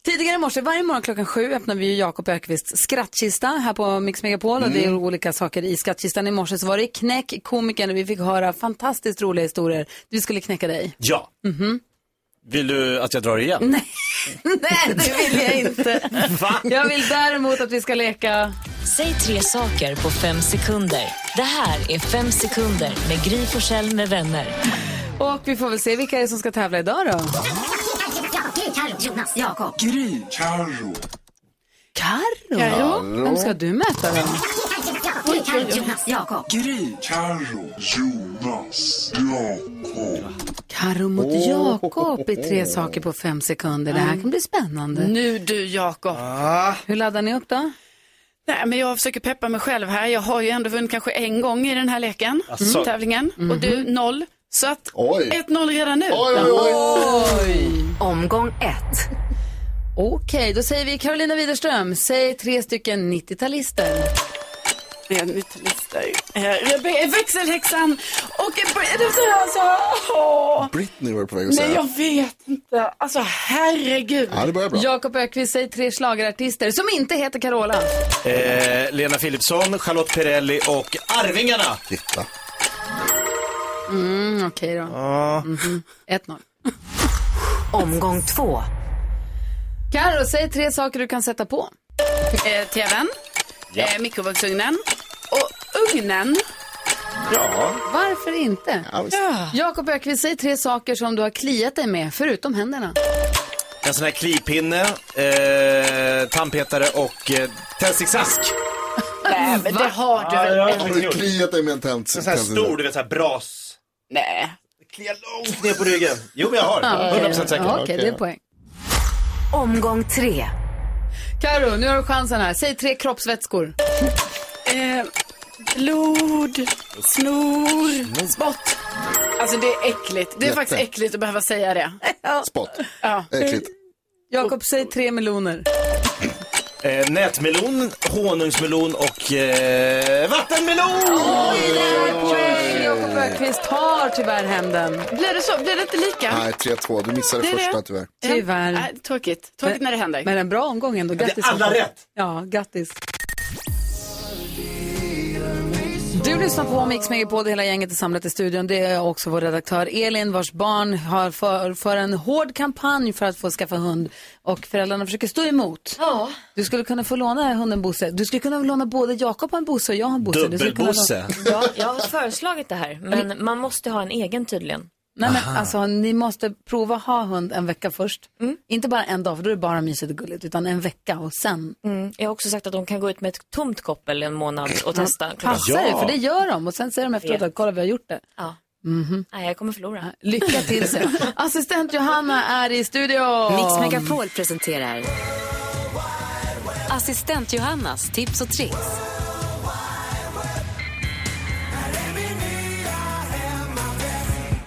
Speaker 1: Tidigare i morse, varje morgon klockan sju öppnar vi ju Jakob Ökvists skrattkista här på Mix Megapol och det är olika saker i skattkistan. I morse så var det knäck komikern och vi fick höra fantastiskt roliga historier. Du skulle knäcka dig.
Speaker 2: Ja.
Speaker 1: Mhm.
Speaker 2: Vill du att jag drar igen? Nej.
Speaker 1: Nej, det vill jag inte.
Speaker 2: Va?
Speaker 1: Jag vill däremot att vi ska leka.
Speaker 6: Säg tre saker på fem sekunder. Det här är Fem sekunder med Gry Forssell med vänner.
Speaker 1: Och vi får väl se vilka det är som ska tävla idag då. Carro?
Speaker 4: Carro.
Speaker 1: Vem ska du möta då? Carro mot Jakob i tre saker på fem sekunder. Det här kan bli spännande.
Speaker 3: Nu du Jakob.
Speaker 1: Hur laddar ni upp då?
Speaker 3: Nej, men jag försöker peppa mig själv här. Jag har ju ändå vunnit kanske en gång i den här leken, tävlingen. Och du, noll. Så att
Speaker 4: Mm. Mhm. Oj.
Speaker 3: 1-0 redan nu.
Speaker 4: Oj, oj, oj.
Speaker 12: Omgång ett.
Speaker 1: Okej, då säger vi Carolina Widerström, säg tre stycken 90-talister.
Speaker 3: Det mitt lister. eh, Växelhäxan och eh, det- alltså, åh.
Speaker 4: Britney var du på väg att säga.
Speaker 3: Nej, jag vet inte. Alltså, herregud.
Speaker 4: Ja, det börjar bra.
Speaker 1: Jakob Ökvist säger tre schlagerartister som inte heter Carola.
Speaker 5: Eh, Lena Philipsson, Charlotte Perrelli och Arvingarna.
Speaker 4: Titta.
Speaker 1: Mm, Okej då. Mhm. 1-0.
Speaker 12: Omgång två.
Speaker 1: Carro, säg tre saker du kan sätta på.
Speaker 3: Eh, TVn, eh, mikrovågsugnen och ugnen.
Speaker 5: Ja.
Speaker 1: Varför inte?
Speaker 4: Ja, visst.
Speaker 1: Jakob Ökvist, säg tre saker som du har kliat dig med, förutom händerna.
Speaker 5: En sån här klipinne, eh, tandpetare och eh, tändsticksask.
Speaker 3: Nej, men det har du väl?
Speaker 4: Har du kliat dig med en tändstick?
Speaker 5: En sån här stor, du vet så här bras.
Speaker 3: Nej.
Speaker 5: Kliar långt ner på ryggen. Jo, men jag har. 100% säker.
Speaker 1: Ja, Okej, det är poäng.
Speaker 12: Omgång tre.
Speaker 1: Carro, nu har du chansen här. Säg tre kroppsvätskor.
Speaker 3: Eh, blod, snor, spott. Alltså det är äckligt. Det är
Speaker 4: Jätte.
Speaker 3: faktiskt äckligt att behöva säga det.
Speaker 4: Spot.
Speaker 3: Ja.
Speaker 4: Äckligt.
Speaker 1: Jakob, säg tre meloner.
Speaker 5: Eh, nätmelon, honungsmelon och eh, vattenmelon!
Speaker 1: Jakob Ökvist tar tyvärr hem den.
Speaker 3: Blir det så? Blir det inte lika?
Speaker 4: Nej, 3-2. Du missade
Speaker 3: Det är
Speaker 4: första
Speaker 3: det.
Speaker 4: tyvärr.
Speaker 1: Tyvärr.
Speaker 3: Nej, Äh, tråkigt. Tråkigt när det händer.
Speaker 1: Men en bra omgång ändå. Grattis.
Speaker 5: alla
Speaker 1: Jakob.
Speaker 5: rätt.
Speaker 1: Ja, grattis. Du lyssnar på Mix Megapod, hela gänget är samlat i studion. Det är också vår redaktör Elin vars barn har för, för en hård kampanj för att få skaffa hund och föräldrarna försöker stå emot.
Speaker 13: Ja.
Speaker 1: Du skulle kunna få låna hunden Bosse. Du skulle kunna låna både Jakob har en Bosse och jag har en Bosse. Du skulle kunna
Speaker 5: Dubbel-Bosse.
Speaker 1: låna-
Speaker 13: Ja, jag har föreslagit det här, men man måste ha en egen tydligen.
Speaker 1: Nej men alltså ni måste prova ha hund en vecka först. Inte bara en dag för då är det bara mysigt och gulligt utan en vecka och sen.
Speaker 13: Mm. Jag har också sagt att de kan gå ut med ett tomt koppel en månad och testa.
Speaker 1: Passa er för det gör de och sen säger de efteråt att kolla vi har gjort det.
Speaker 13: Ja.
Speaker 1: Mhm.
Speaker 13: Nej, jag kommer förlora.
Speaker 1: Lycka till sen. Assistent Johanna är i studion.
Speaker 12: Mix Megapol presenterar Assistent Johannas tips och tricks.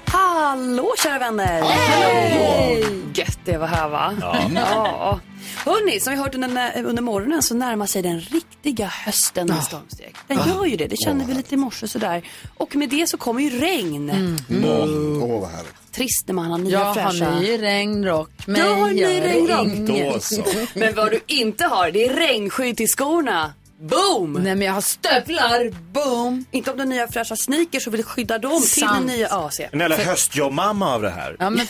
Speaker 13: Hallå kära vänner! Hej! Gött det var här va? Ja. ja. Hörni, som vi hört under, under morgonen så närmar sig den riktiga hösten
Speaker 3: Ah.
Speaker 13: med stormsteg. Den gör ju det, det kände vi lite i morse sådär. Och med det så kommer ju regn.
Speaker 3: Mm.
Speaker 4: Åh,
Speaker 5: Mm.
Speaker 4: åh, vad härligt.
Speaker 13: Trist när man har nya
Speaker 1: Jag
Speaker 13: fräscha...
Speaker 1: har ny regnrock. Men
Speaker 13: Jag har ny
Speaker 1: gör det
Speaker 13: regnrock.
Speaker 1: inget.
Speaker 2: Då så.
Speaker 13: Men vad du inte har, det är regnskydd till skorna. Boom!
Speaker 1: Nej men jag har stövlar. Boom.
Speaker 13: Inte om den nya fräscha sneakers så vill skydda dem till den
Speaker 1: Sant.
Speaker 13: nya AC.
Speaker 5: En jävla höstjobb-mamma av det här.
Speaker 1: Ja, men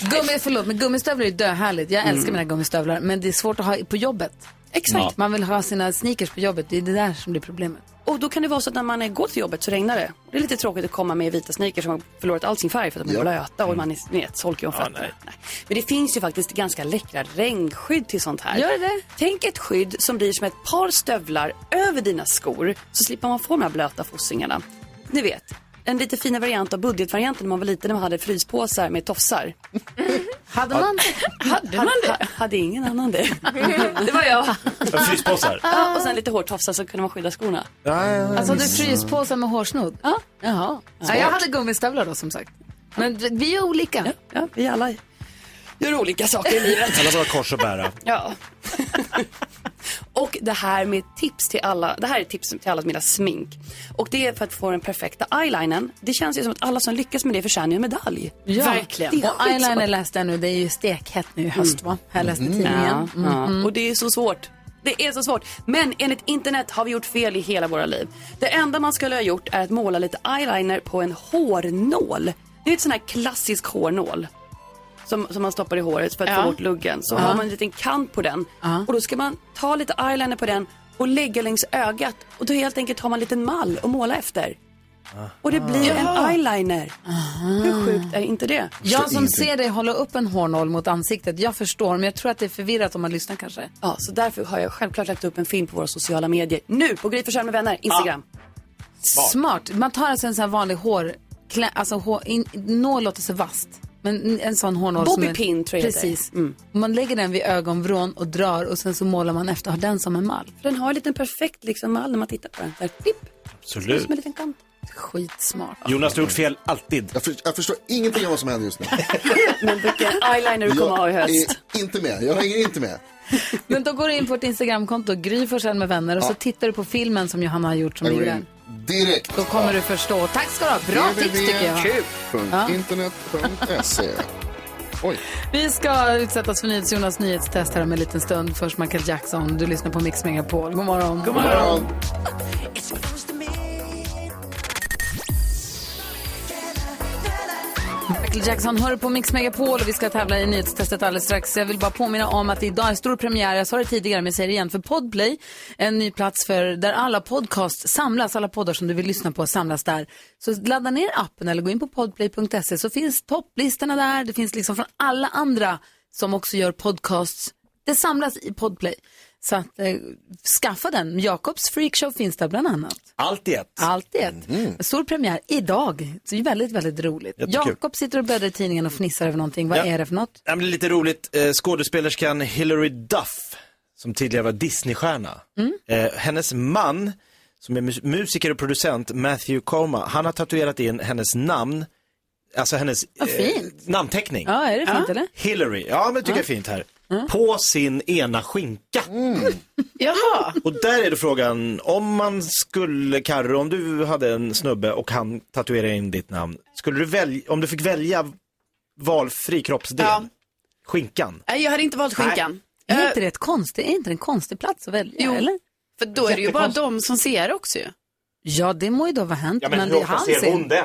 Speaker 1: Gummi, förlåt, men gummistövlar är ju döhärligt. Jag
Speaker 12: Mm.
Speaker 1: älskar mina gummistövlar men det är svårt att ha på jobbet.
Speaker 13: Exakt.
Speaker 1: Man vill ha sina sneakers på jobbet. Det är det där som blir problemet.
Speaker 13: Och då kan det vara så att när man eh, går till jobbet så regnar det. Det är lite tråkigt att komma med vita sneakers som har förlorat all sin färg för att de är
Speaker 4: Ja.
Speaker 13: blöta och man är ni vet, solkig om fötterna. nej. Men det finns ju faktiskt ganska läckra regnskydd till sånt här.
Speaker 1: Gör det det?
Speaker 13: Tänk ett skydd som blir som ett par stövlar över dina skor så slipper man få de här blöta fossingarna. Ni vet, en lite fina variant av budgetvarianten när man var liten när man hade fryspåsar med tofsar.
Speaker 1: Hade man...
Speaker 13: Hade man det? hade ingen annan det. det var jag.
Speaker 5: Fryspåsar.
Speaker 13: Ja, och sen lite hårtofsar så kunde man skydda skorna.
Speaker 1: Alltså hade du fryspåsar med hårsnodd?
Speaker 13: Ja.
Speaker 1: Jaha. Ja, jag hade gummistövlar då som sagt. Men d- vi är olika.
Speaker 13: Ja, vi alla gör olika saker i livet.
Speaker 5: Alla våra kors att bära.
Speaker 13: Ja. och det här med tips till alla, det här är tips till alla mina smink. Och det är för att få den perfekta eyelinen. Det känns ju som att alla som lyckas med det förtjänar ju en medalj.
Speaker 1: Ja.
Speaker 13: Verkligen. Det är
Speaker 1: Och
Speaker 13: skitsvårt.
Speaker 1: eyeliner läste jag nu. Det är ju stekhett nu i höst va? Här läste
Speaker 13: Ja,
Speaker 1: tidningen. Mm.
Speaker 13: ja. Och det är så svårt. Det är så svårt. Men enligt internet har vi gjort fel i hela våra liv. Det enda man skulle ha gjort är att måla lite eyeliner på en hårnål. Det är ett sån här klassisk hårnål. Som, som man stoppar i håret för att
Speaker 3: Ja.
Speaker 13: få bort luggen. Så har man en liten kant på den. Och då ska man ta lite eyeliner på den och lägga längs ögat. Och då helt enkelt har man en liten mall att måla efter. Och det blir en eyeliner. Hur sjukt är inte det?
Speaker 1: Jag som ser dig hålla upp en hårnål mot ansiktet, jag förstår, men jag tror att det är förvirrat om man lyssnar kanske.
Speaker 13: Ja, så därför har jag självklart lagt upp en film på våra sociala medier. Nu på Gry Forssell med vänner, Instagram.
Speaker 14: Ah,
Speaker 1: Smart. Man tar alltså en sån här vanlig hår, klä, alltså hår, in, nål låter sig vasst. Men en sån hårnål som
Speaker 13: Bobby
Speaker 1: är-
Speaker 13: pin, tror jag det
Speaker 1: Precis.
Speaker 13: heter. Mm.
Speaker 1: Man lägger den vid ögonvrån och drar och sen så målar man efter, har den som en mall.
Speaker 13: För den har en liten perfekt liksom, mall när man tittar på den. Där, klipp,
Speaker 5: Absolut.
Speaker 13: som en liten kant.
Speaker 1: Skitsmart.
Speaker 5: Jonas, du har gjort fel alltid.
Speaker 4: Jag, för, jag förstår ingenting av vad som händer just nu.
Speaker 13: Men vilken eyeliner du kommer ha i
Speaker 4: jag
Speaker 13: höst.
Speaker 4: är inte med, jag hänger inte med.
Speaker 1: Men då går du in på vårt Instagramkonto, Gry Forssell med vänner, och så
Speaker 4: Ja.
Speaker 1: tittar du på filmen som Johanna har gjort som
Speaker 4: Jag går
Speaker 1: ligger där.
Speaker 4: in Mm. direkt.
Speaker 1: Då kommer du förstå. Tack ska du ha. Bra tips tycker jag. Ja.
Speaker 4: www.internet.se Oj.
Speaker 1: Vi ska utsättas för nyhets Jonas nyhetstest här om en liten stund. Först Michael Jackson. Du lyssnar på Mix Megapol. God morgon.
Speaker 6: God morgon.
Speaker 1: Michael Jackson hör på Mix Megapol och vi ska tävla i nyhetstestet alldeles strax. Jag vill bara påminna om att idag är stor premiär, jag sa det tidigare men jag säger det igen, för Podplay. En ny plats för, där alla podcasts samlas, alla poddar som du vill lyssna på samlas där. Så ladda ner appen eller gå in på podplay.se så finns topplistorna där, det finns liksom från alla andra som också gör podcasts. Det samlas i Podplay. Så att, eh, skaffa den. Jakobs freakshow finns där bland annat.
Speaker 5: Allt i ett.
Speaker 1: Allt i ett. Stor premiär idag. Så det är väldigt, väldigt roligt.
Speaker 5: Jättekul.
Speaker 1: Jakob sitter och bläddrar i tidningen och fnissar över någonting. Vad
Speaker 5: Ja.
Speaker 1: är det för något?
Speaker 5: Ja, men det är lite roligt, eh, skådespelerskan Hilary Duff, som tidigare var Disneystjärna. Eh, hennes man, som är mus- musiker och producent, Matthew Coma, han har tatuerat in hennes namn, alltså hennes eh, namnteckning.
Speaker 1: Ja, är det fint eller?
Speaker 5: Hillary, ja men det tycker jag är fint här. På sin ena skinka.
Speaker 3: Jaha.
Speaker 5: Och där är då frågan, om man skulle, Karro, om du hade en snubbe och han tatuerade in ditt namn, skulle du välja, om du fick välja valfri kroppsdel, skinkan?
Speaker 3: Nej, jag hade inte valt skinkan.
Speaker 1: Är inte det ett konstigt, är inte det en konstig plats att välja?
Speaker 3: Eh. Jo,
Speaker 1: eller?
Speaker 3: för då är det ju bara
Speaker 1: Jättekonstigt.
Speaker 3: de som ser också ju.
Speaker 1: Ja, det må ju då vara hänt. men det är han sin.
Speaker 5: den?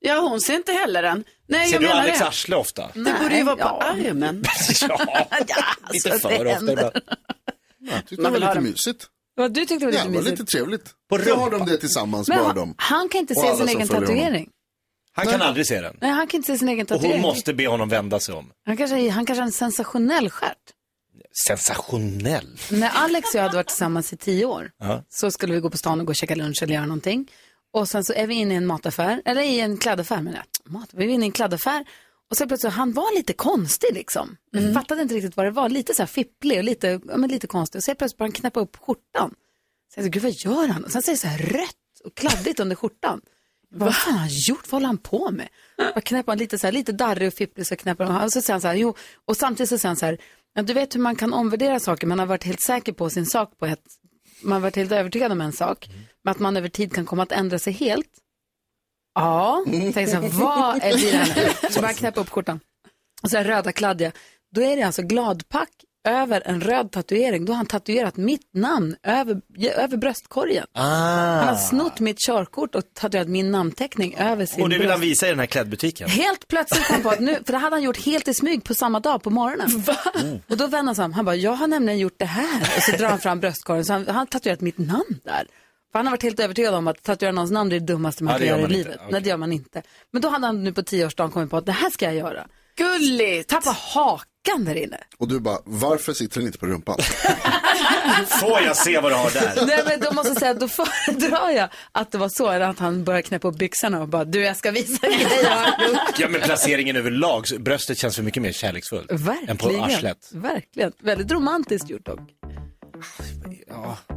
Speaker 3: Ja, hon ser inte heller den. Nej,
Speaker 5: Ser
Speaker 3: jag
Speaker 5: du
Speaker 3: menar
Speaker 5: Alex
Speaker 3: det.
Speaker 5: arsle ofta?
Speaker 1: Mm.
Speaker 3: Det borde ju vara på armen.
Speaker 5: Lite
Speaker 1: alltså,
Speaker 5: för
Speaker 1: det
Speaker 5: ofta
Speaker 1: händer.
Speaker 5: ibland.
Speaker 4: Jag tyckte det var lite mysigt.
Speaker 1: Vad du tyckte det var
Speaker 4: Ja,
Speaker 1: lite
Speaker 4: det var
Speaker 1: mysigt.
Speaker 4: lite trevligt. Så har de det tillsammans,
Speaker 1: Men
Speaker 4: bara
Speaker 1: han,
Speaker 4: de.
Speaker 1: han kan inte
Speaker 4: Och
Speaker 1: se
Speaker 4: alla
Speaker 1: sin
Speaker 4: som
Speaker 1: egen
Speaker 4: följer honom.
Speaker 1: tatuering.
Speaker 5: Han kan aldrig se den.
Speaker 1: Nej, han kan inte se sin egen
Speaker 5: Och hon
Speaker 1: tatuering.
Speaker 5: måste be honom vända sig om.
Speaker 1: Han kanske, han kanske har en sensationell stjärt.
Speaker 5: Sensationell.
Speaker 1: När Alex och jag hade varit tillsammans i tio år
Speaker 5: Ja.
Speaker 1: så skulle vi gå på stan och gå och käka lunch eller göra någonting. Och sen så är vi inne i en mataffär, eller i en klädaffär menar jag. Mat, vi är inne i en klädaffär. Och sen plötsligt, han var lite konstig liksom. Jag fattade inte riktigt vad det var, lite så här fipplig och lite, ja, men lite konstig. Och sen plötsligt började han knäppa upp skjortan. Så jag sa, gud vad gör han? Och sen så är det så här rött och kladdigt under skjortan. Jag bara, Vad fan har han gjort? Vad håller han på med? Bara knäpper han lite så här, lite darrig och fipplig så knäpper han. Och så säger han så här, jo. Och samtidigt så säger han så här, ja, du vet hur man kan omvärdera saker. Man har varit helt säker på sin sak på ett, man har varit helt övertygad om en sak. Men att man över tid kan komma att ändra sig helt. Ja,
Speaker 3: Mm.
Speaker 1: tänker så här, vad är det här? Så bara knäppa upp skjortan. Och så här röda kladdiga. Då är det alltså gladpack över en röd tatuering. Då har han tatuerat mitt namn över, över bröstkorgen.
Speaker 5: Ah.
Speaker 1: Han har snott mitt körkort och tatuerat min namnteckning över sin
Speaker 5: Och det vill han
Speaker 1: bröst.
Speaker 5: visa i den här klädbutiken.
Speaker 1: Helt plötsligt kom han på att nu, för det hade han gjort helt i smyg på samma dag på morgonen. Mm. Och då vände han sig om, han bara, jag har nämligen gjort det här. Och så drar han fram bröstkorgen, så han, han har tatuerat mitt namn där. För han har varit helt övertygad om att tatuera någons namn det är det dummaste man
Speaker 5: Ja, det
Speaker 1: kan
Speaker 5: gör
Speaker 1: göra i
Speaker 5: man
Speaker 1: livet.
Speaker 5: inte.
Speaker 1: Nej, det gör man inte. Men då hade han nu på tioårsdagen kommit på att det här ska jag göra. Gulligt! Tappa hakan där inne.
Speaker 4: Och du bara, varför sitter den inte på rumpan?
Speaker 5: Får jag se vad du har där?
Speaker 1: Nej men då måste jag säga att då föredrar jag att det var så, eller att han började knäppa upp byxorna och bara, du jag ska visa dig vad jag har gjort.
Speaker 5: Ja men placeringen överlag, så bröstet känns för mycket mer kärleksfullt.
Speaker 1: Verkligen.
Speaker 5: Än på arslet.
Speaker 1: Verkligen. Väldigt romantiskt gjort dock.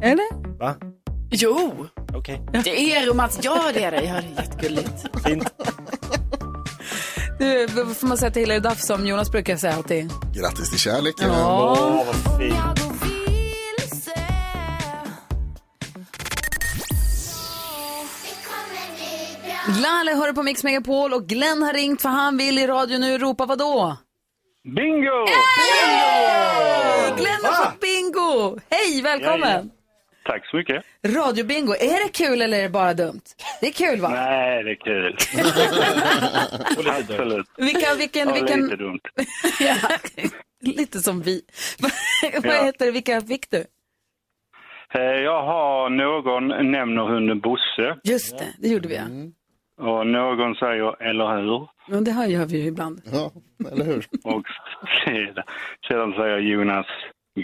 Speaker 1: Eller?
Speaker 5: Va?
Speaker 3: Jo,
Speaker 5: Okej.
Speaker 3: det är romantiskt. Ja, det är det. Ja, det är jättegulligt.
Speaker 5: Fint.
Speaker 1: Du, vad får man säga till Hillary Duff som Jonas brukar säga alltid?
Speaker 4: Grattis till kärleken.
Speaker 1: Ja. Lalle hör på Mix Megapol och Glenn har ringt för han vill i radio nu ropa vadå?
Speaker 11: Bingo!
Speaker 1: Hey! Glenn har fått bingo! Hej, välkommen!
Speaker 11: Tack så mycket.
Speaker 1: Radiobingo, är det kul eller är det bara dumt? Det är kul va?
Speaker 11: Nej, det är kul. Absolut.
Speaker 1: Vilka- vilken-
Speaker 11: ja,
Speaker 1: vilken-
Speaker 11: Lite dumt.
Speaker 1: Ja. Lite som vi. Vad
Speaker 11: Ja.
Speaker 1: heter det? Vilka fick du?
Speaker 11: Eh, Jag har någon nämner hunden Bosse
Speaker 1: Just det, det gjorde vi ja.
Speaker 11: Mm. och någon säger eller hur?
Speaker 1: Men det här gör vi ju ibland.
Speaker 4: Ja, eller hur?
Speaker 11: Och sedan- sedan säger Jonas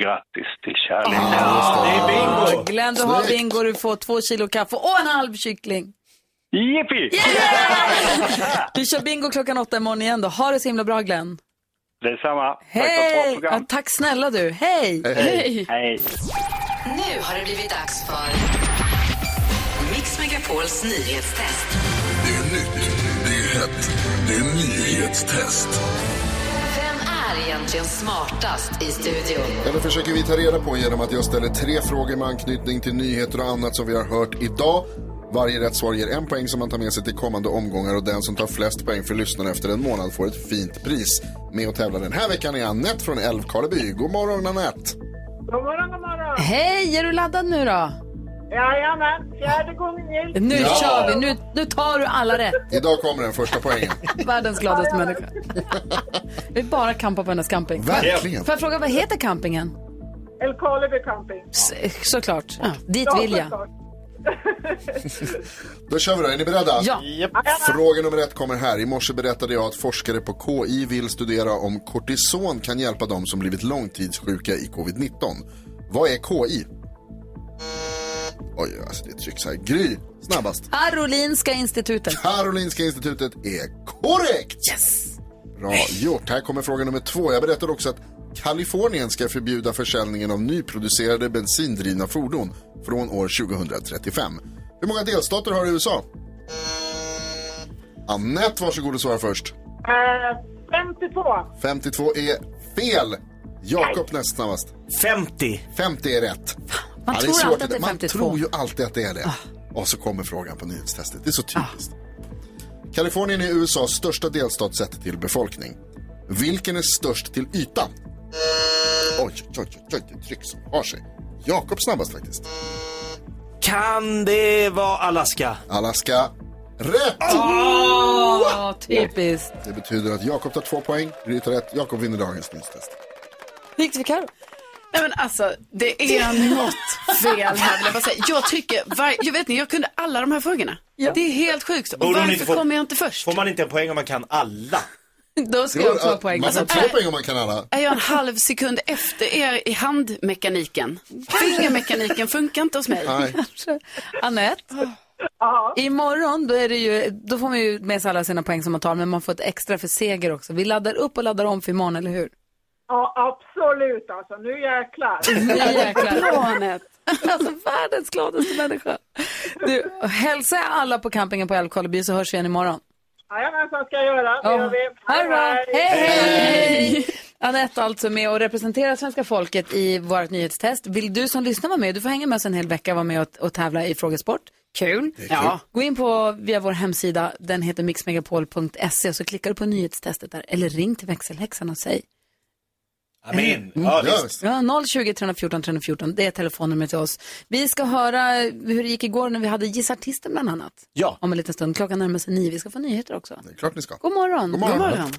Speaker 11: grattis till kärleken.
Speaker 5: det. är bingo!
Speaker 1: Glenn, du har bingo. Du får två kilo kaffe och en halv kyckling.
Speaker 11: Jippi!
Speaker 1: Vi kör bingo klockan åtta imorgon igen då. Ha det så himla bra Glenn.
Speaker 11: Detsamma. Tack för ett bra
Speaker 1: Hej! Ja,
Speaker 11: program.
Speaker 1: tack snälla du. Hej!
Speaker 11: Hej.
Speaker 12: Nu har det blivit dags för Mix
Speaker 15: Mix Megapols nyhetstest.
Speaker 16: Det är nytt, det är hett, det är nyhetstest.
Speaker 15: Vem är egentligen smartast i studion?
Speaker 4: Ja, det försöker vi ta reda på genom att jag ställer tre frågor med anknytning till nyheter och annat som vi har hört idag. Varje rätt svar ger en poäng som man tar med sig till kommande omgångar och den som tar flest poäng för lyssnarna efter en månad får ett fint pris. Med och tävlar den här veckan är Annette från Älvkarleby. God morgon Annette!
Speaker 17: God morgon, god morgon.
Speaker 1: Hej, är du laddad nu då?
Speaker 17: Jajamän, fjärde gången gillt.
Speaker 1: Nu kör vi, nu, nu tar du alla rätt.
Speaker 4: Idag kommer den första poängen.
Speaker 1: Världens gladaste människa. Vi bara kampar på hennes camping.
Speaker 4: Verkligen.
Speaker 1: Får jag fråga, vad heter campingen?
Speaker 17: Älvkarleby camping.
Speaker 1: S- såklart. Dit vill jag.
Speaker 4: Då kör vi då, är ni beredda?
Speaker 1: Ja.
Speaker 4: Fråga nummer ett kommer här. I morse berättade jag att forskare på KI vill studera om kortison kan hjälpa dem som blivit långtidssjuka i covid-19. Vad är KI? Oj, alltså det trycks här. Gry, snabbast.
Speaker 1: Karolinska institutet.
Speaker 4: Karolinska institutet är korrekt!
Speaker 1: Yes!
Speaker 4: Bra gjort. Här kommer fråga nummer två. Jag berättade också att Kalifornien ska förbjuda försäljningen av nyproducerade bensindrivna fordon från år 2035. Hur många delstater har USA? Annette, varsågod och svara först.
Speaker 17: Eh, 52.
Speaker 4: 52 är fel. Jakob näst snabbast. 50. 50 är rätt.
Speaker 1: Man
Speaker 4: Ja, det är
Speaker 1: tror
Speaker 4: svårt
Speaker 1: alltid att det är
Speaker 4: Man
Speaker 1: 52.
Speaker 4: tror ju alltid att det är det. Och så kommer frågan på nyhetstestet. Det är så typiskt. Kalifornien är USAs största delstat sett till befolkning. Vilken är störst till ytan? Oj, oj, oj, oj, det tryck som har sig. Jakob snabbast faktiskt.
Speaker 2: Kan det vara Alaska?
Speaker 4: Alaska. Rätt!
Speaker 1: Åh, typiskt.
Speaker 4: Det betyder att Jakob tar två poäng, Gry tar rätt. Jakob vinner dagens nyhetstest.
Speaker 3: Hur gick det för Karo? Nej men alltså, det är något fel här vill jag bara säga. Jag tycker, var... jag vet ni, jag kunde alla de här frågorna. Det är helt sjukt. Och
Speaker 5: Borde hon
Speaker 3: varför
Speaker 5: inte få-
Speaker 3: kommer jag inte först?
Speaker 5: Får man inte en poäng om man kan alla?
Speaker 3: Då ska jag också ha poäng.
Speaker 5: Man får
Speaker 3: Alltså,
Speaker 5: två
Speaker 3: är-
Speaker 5: poäng
Speaker 4: om man kan alla.
Speaker 3: Är jag en halv sekund efter er i handmekaniken? Fingermekaniken funkar inte hos mig.
Speaker 4: Nej.
Speaker 1: Anette? Imorgon då, är det ju, då får man ju med sig alla sina poäng som man tar, men man får ett extra för seger också. Vi laddar upp och laddar om för imorgon, eller hur?
Speaker 17: Ja, absolut alltså. Nu jäklar.
Speaker 1: Nu jäklar. Alltså världens gladaste människa. Du, hälsa alla på campingen på Älvkarleby så hörs vi igen imorgon.
Speaker 17: Jajamensan ska jag göra. Det
Speaker 1: Ja.
Speaker 17: gör vi.
Speaker 1: Ha det bra. Hej, hej! Anette alltså med och representerar svenska folket i vårt nyhetstest. Vill du som lyssnar vara med? Du får hänga med oss en hel vecka och vara med och, och tävla i frågesport. Kul.
Speaker 3: Det är kul. Ja.
Speaker 1: Gå in på via vår hemsida, den heter mixmegapol.se och så klickar du på nyhetstestet där eller ring till växelhäxan och säg.
Speaker 5: Amen. Ja,
Speaker 1: Mm.
Speaker 5: visst.
Speaker 1: Ja, 020 314 314, det är telefonnumret till oss. Vi ska höra hur det gick igår när vi hade Gissa artisten bland annat.
Speaker 2: Ja.
Speaker 1: Om en liten stund, klockan närmar sig nio, vi ska få nyheter också.
Speaker 4: Klart ni ska.
Speaker 1: God morgon.
Speaker 4: God morgon.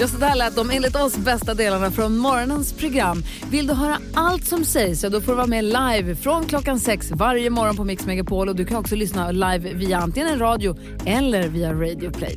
Speaker 1: Ja, så där lät de enligt oss bästa delarna från morgonens program. Vill du höra allt som sägs, ja, då får du vara med live från klockan sex varje morgon på Mix Megapol. Och du kan också lyssna live via antingen en radio eller via Radio Play.